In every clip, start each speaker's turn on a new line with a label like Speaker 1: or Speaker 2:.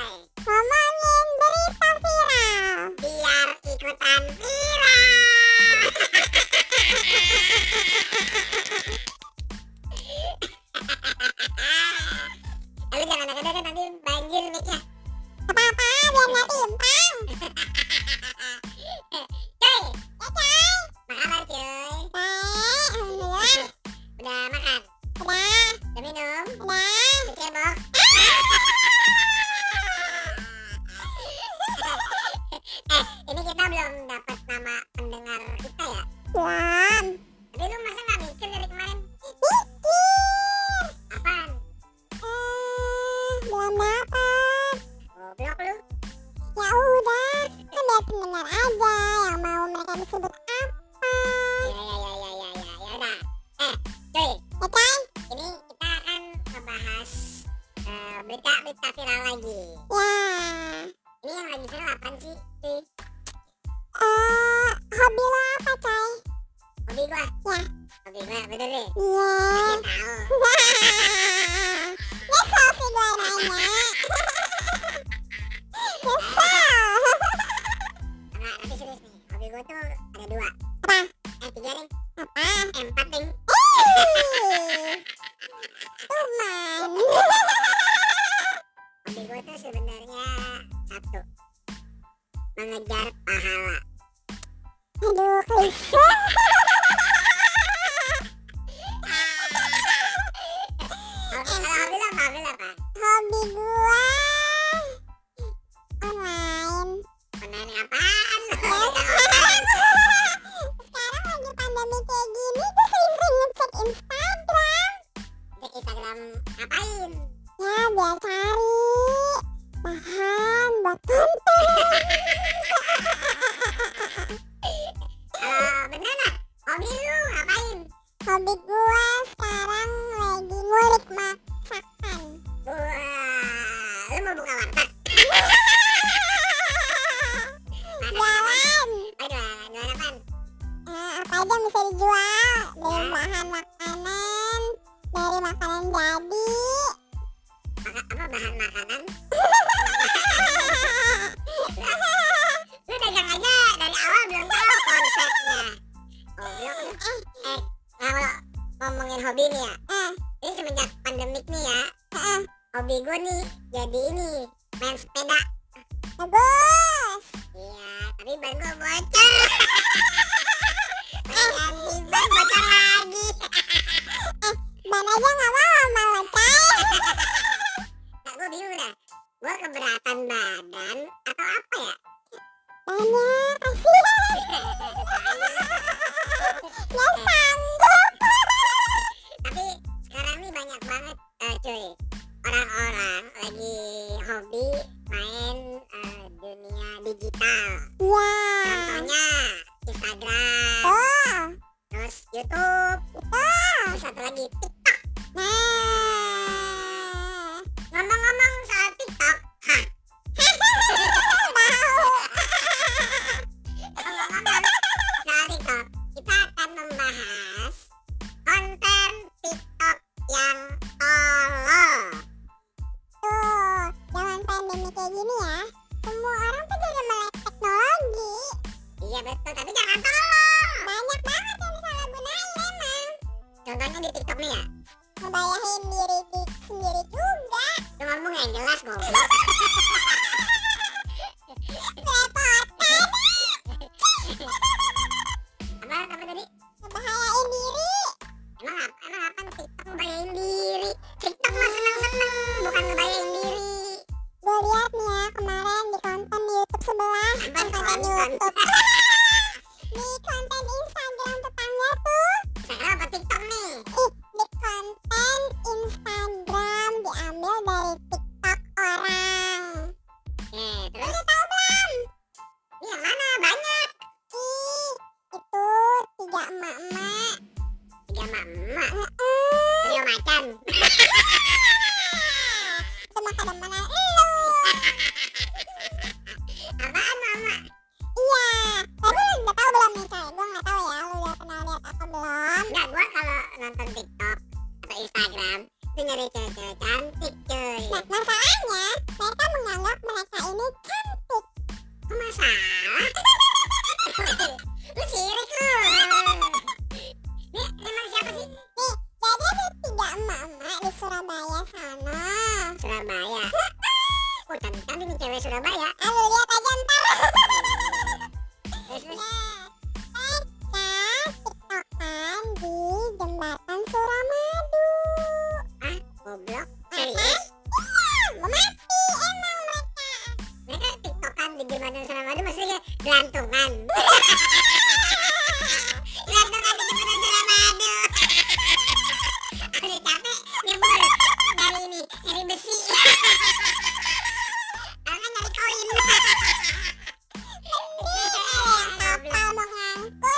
Speaker 1: kan Eh,
Speaker 2: Tuan.
Speaker 1: ya. Tapi lu masa nggak mikir dari kemarin?
Speaker 2: Mikir.
Speaker 1: Apaan?
Speaker 2: Ah, belum dapat.
Speaker 1: Goblok lu.
Speaker 2: Ya udah, kan biar pendengar aja yang mau mereka disebut apa.
Speaker 1: Ya ya ya ya ya ya ya udah. Eh, cuy,
Speaker 2: Ya kan?
Speaker 1: ini kita akan ngebahas eh, berita-berita viral lagi.
Speaker 2: Ya.
Speaker 1: Ini yang lagi viral apaan sih, cuy?
Speaker 2: Eh, hobi lo apa, Coy?
Speaker 1: Hobi gua.
Speaker 2: Ya.
Speaker 1: Hobi gua bener deh.
Speaker 2: Iya.
Speaker 1: Ya tahu.
Speaker 2: Wah. Nyesel sih gue nanya. Nyesel.
Speaker 1: Enggak, tapi serius nih. Hobi gua tuh ada dua.
Speaker 2: Apa?
Speaker 1: Eh, tiga nih.
Speaker 2: Apa?
Speaker 1: Eh, empat nih.
Speaker 2: Ih. Tuman.
Speaker 1: Hobi gua tuh sebenarnya satu. Mengejar pahala.
Speaker 2: Aduh, klise.
Speaker 1: Hobi, kalau hobi lo apa? Hobi lo apa?
Speaker 2: Hobi gua online.
Speaker 1: Online apaan lu?
Speaker 2: Ya, sekarang sekarang lagi pandemi kayak gini gue sering-sering ngecek Instagram.
Speaker 1: Cek Instagram ngapain?
Speaker 2: Ya biar cari bahan buat konten.
Speaker 1: Kalau bener nggak? Hobi lu ngapain?
Speaker 2: Hobi gue sekarang lagi ngulik masakan.
Speaker 1: Wah, eh, lu mau buka warteg? Mana?
Speaker 2: Jalan.
Speaker 1: Oh, jualan, jualan apaan?
Speaker 2: Eh, apa aja yang bisa dijual dari bahan makanan, dari makanan
Speaker 1: Maka,
Speaker 2: jadi.
Speaker 1: apa bahan makanan? Lu dagang aja dari awal belum tahu konsepnya. Goblok lu.
Speaker 2: Eh,
Speaker 1: Eh, kalau ngomongin hobi nih ya,
Speaker 2: eh,
Speaker 1: ini semenjak pandemik nih ya,
Speaker 2: eh,
Speaker 1: hobi gue nih jadi ini main sepeda.
Speaker 2: bagus.
Speaker 1: Iya, tapi ban gue bocor.
Speaker 2: Eh.
Speaker 1: Ganti ban bocor lagi.
Speaker 2: Dan aja nggak mau malah cai.
Speaker 1: Nah, gue bingung dah. Gue keberatan badan atau apa ya?
Speaker 2: Banyak kasihan. Ya sanggup.
Speaker 1: tapi sekarang nih banyak banget eh, cuy orang-orang lagi hobi main eh, dunia digital.
Speaker 2: Wah.
Speaker 1: Contohnya Instagram,
Speaker 2: Oh,
Speaker 1: terus YouTube,
Speaker 2: betul.
Speaker 1: terus satu lagi TikTok.
Speaker 2: Hmm. Nah.
Speaker 1: Ngomong-ngomong soal TikTok, hah? Ngomong-ngomong soal TikTok, kita akan membahas konten TikTok yang tolol.
Speaker 2: Tuh, zaman pandemi kayak gini ya, semua orang tuh jadi melek teknologi.
Speaker 1: Iya betul, tapi jangan tolol.
Speaker 2: Banyak banget yang disalahgunain memang.
Speaker 1: Contohnya di TikTok nih ya,
Speaker 2: Ngebayahin diri di- sendiri juga.
Speaker 1: lu ngomong yang jelas goblok.
Speaker 2: Kerepotan,
Speaker 1: Apa apa tadi?
Speaker 2: ngebahayain diri.
Speaker 1: Emang apa? Emang apa TikTok ngebayain diri? TikTok mah seneng-seneng, bukan ngebayain diri.
Speaker 2: Gue lihat nih ya kemarin di konten di YouTube sebelah,
Speaker 1: Apa
Speaker 2: eh, konten
Speaker 1: konten?
Speaker 2: YouTube, di konten Instagram tetangga tuh,
Speaker 1: Sekarang apa TikTok nih?
Speaker 2: ih, di konten Instagram diambil dari TikTok orang.
Speaker 1: Eh, terus
Speaker 2: Udah tahu belum?
Speaker 1: ini yang mana? Banyak.
Speaker 2: Ih, itu tiga emak-emak.
Speaker 1: Tiga mama.
Speaker 2: Heeh.
Speaker 1: Trio macan.
Speaker 2: Itu mah kadang mana elu.
Speaker 1: Apaan mama?
Speaker 2: Iya. Tapi lu udah tahu belum nih, Coy? Gua nggak tahu ya, lu udah pernah lihat apa belum?
Speaker 1: Enggak, gua kalau nonton TikTok atau Instagram itu nyari cewek-cewek cantik cuy.
Speaker 2: Nah, masalahnya mereka menganggap mereka ini cantik.
Speaker 1: Kok masalah? lu sirik lu. Ini emang siapa sih?
Speaker 2: Nih, jadi ada tiga emak-emak di Surabaya sana.
Speaker 1: Surabaya. Oh cantik-cantik nih cewek Surabaya.
Speaker 2: Ah, lu lihat aja ntar.
Speaker 1: Terus terus
Speaker 2: Nah, mereka tiktokan di jembatan Suramadu.
Speaker 1: ah goblok.
Speaker 2: Iya,
Speaker 1: Serius?
Speaker 2: mau mati emang mereka.
Speaker 1: Mereka TikTokan di jembatan Surabaya maksudnya gelantungan. kan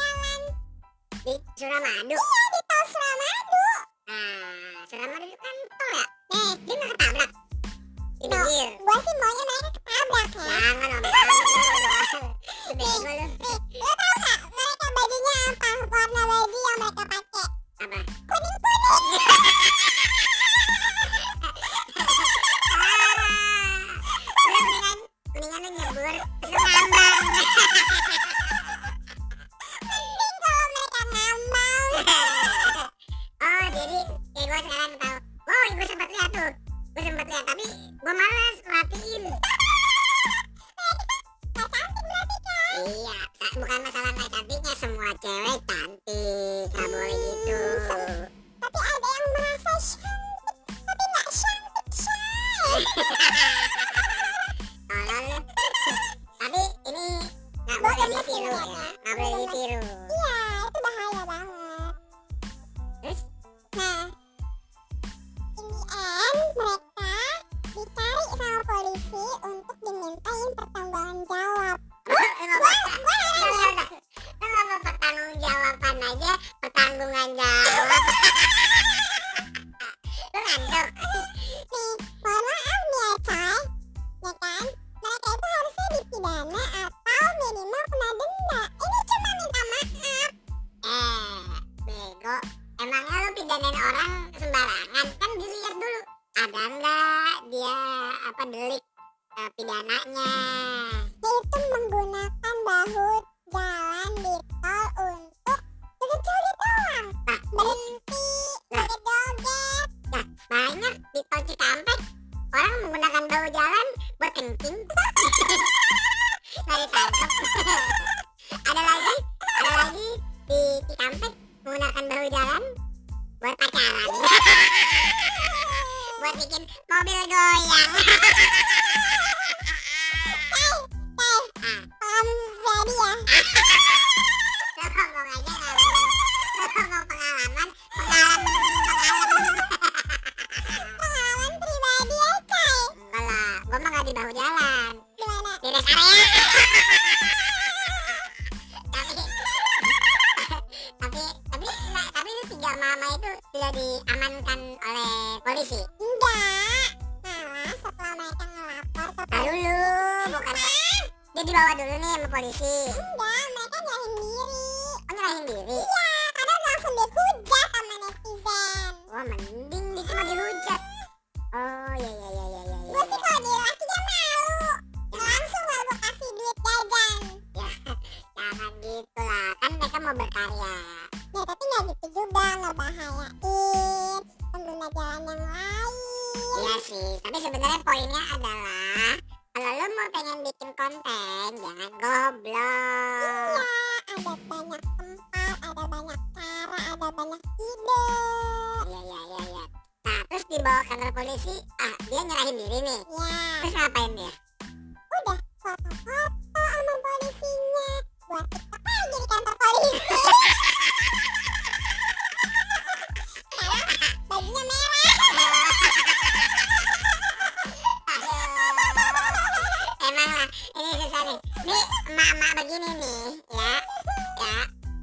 Speaker 1: di Suramadu.
Speaker 2: Iya di tol Suramadu.
Speaker 1: Nah, Suramadu itu kan tol ya?
Speaker 2: Nah,
Speaker 1: Dia nggak ketabrak. Di
Speaker 2: Tuh.
Speaker 1: pinggir.
Speaker 2: gua sih maunya mereka ketabrak ya.
Speaker 1: Jangan om, jangan. Lu bego lu.
Speaker 2: Nih, lo tau gak mereka bajunya apa? Warna baju yang mereka pakai.
Speaker 1: Apa?
Speaker 2: Kuning-kuning.
Speaker 1: Lu mendingan mendingan lu nyebur terus lu ngambang.
Speaker 2: Mending kalau mereka ngambang.
Speaker 1: Oh, jadi kayak gua sekarang tahu. Oh, gua sempat lihat tuh. Gua sempat lihat tapi gua malas latihin.
Speaker 2: Gak cantik berarti kan?
Speaker 1: Iya, sa- bukan masalah nggak cantiknya semua cewek cantik, nggak boleh gitu.
Speaker 2: Tapi ada yang merasa cantik. Tapi gak cantik, say.
Speaker 1: Tolol lu. Tapi ini nggak
Speaker 2: Gua
Speaker 1: boleh
Speaker 2: kena
Speaker 1: ditiru ya,
Speaker 2: tiruannya.
Speaker 1: nggak boleh ditiru.
Speaker 2: Iya, itu bahaya banget.
Speaker 1: Terus?
Speaker 2: Nah, in the end mereka dicari sama polisi untuk dimintain pertanggung jawab.
Speaker 1: Lu nggak apa- lu nggak apa- lu nggak apa pertanggung jawaban aja, pertanggungan jawab. Lu ngantuk.
Speaker 2: Nih, mohon maaf nih ya, Shay. Ya kan? Mereka itu harusnya dipidana atau minimal kena denda. Ini cuma minta maaf.
Speaker 1: Eh, bego. Emangnya lu pidanain orang sembarangan? Kan dilihat dulu ada nggak dia apa delik eh, pidananya.
Speaker 2: Yaitu menggunakan bahu jalan di tol untuk curi-curi doang.
Speaker 1: Nah,
Speaker 2: Berhenti, Eh,
Speaker 1: Nah.
Speaker 2: joget-joget.
Speaker 1: Banyak di tol Cikampek orang menggunakan bahu jalan buat kencing. Nggak ditangkap. ada lagi, ada lagi di Cikampek menggunakan bahu jalan buat pacaran. buat bikin mobil goyang.
Speaker 2: Eh,
Speaker 1: Ah.
Speaker 2: paham jadi ya?
Speaker 1: Lo ngomong aja nggak bener. Lo ngomong pengalaman, pengalaman.
Speaker 2: Pengalaman pribadi ya, Shay.
Speaker 1: Enggak lah, gue mah nggak di bahu jalan.
Speaker 2: Gimana?
Speaker 1: Di rest area. tapi, tapi, tapi, nah, tapi itu tiga mama itu sudah diamankan oleh polisi.
Speaker 2: Enggak. Malah setelah mereka ngelapor ke
Speaker 1: Nah
Speaker 2: polisi,
Speaker 1: dulu, bukan. Dia dibawa dulu nih sama polisi.
Speaker 2: enggak, mereka nyalahin diri.
Speaker 1: Oh nyerahin diri.
Speaker 2: Iya, karena langsung dihujat sama netizen.
Speaker 1: Wah mending dia cuma dihujat. Oh iya iya iya iya iya.
Speaker 2: Gue sih
Speaker 1: iya.
Speaker 2: kalau jadi laki dia malu. Langsung lah gue kasih duit jajan.
Speaker 1: Jangan gitu lah, kan mereka mau berkarya.
Speaker 2: Ya tapi nggak gitu juga ngebahayain pengguna jalan yang lain.
Speaker 1: Iya sih, tapi sebenarnya poinnya adalah kalau lo mau pengen bikin konten jangan goblok.
Speaker 2: Iya, ada banyak tempat, ada banyak cara, ada banyak ide.
Speaker 1: Iya iya iya iya. Nah terus dibawa ke kantor polisi, ah dia nyerahin diri nih.
Speaker 2: Ya,
Speaker 1: Terus ngapain dia?
Speaker 2: udah foto-foto sama polisinya. Buat tiktok lagi di kantor polisi. Karena bajunya merah.
Speaker 1: Aduh. Emang lah, ini susah nih. Nih emak-emak begini nih, ya, ya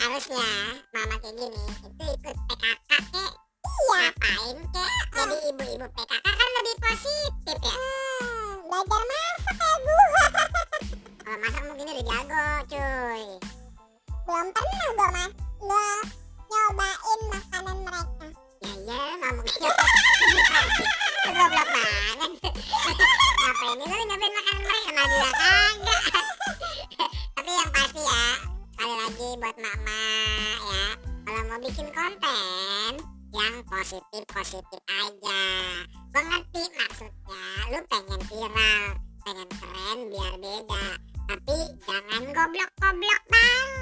Speaker 1: harusnya mama kayak gini itu ikut PKK kek
Speaker 2: Iya.
Speaker 1: ngapain kek jadi ibu-ibu PKK kan lebih positif ya
Speaker 2: Hmm, belajar masak kayak gua.
Speaker 1: kalau masak mungkin udah jago cuy
Speaker 2: Belum pernah gua mas, gua nyobain makanan mereka.
Speaker 1: ya ya nggak mungkin Lu goblok banget ngapain ini lu nyobain makanan mereka mah bilang kagak tapi yang pasti ya sekali lagi buat mama ya kalau mau bikin konten yang positif positif aja gue ngerti maksudnya lu pengen viral pengen keren biar beda tapi jangan goblok goblok banget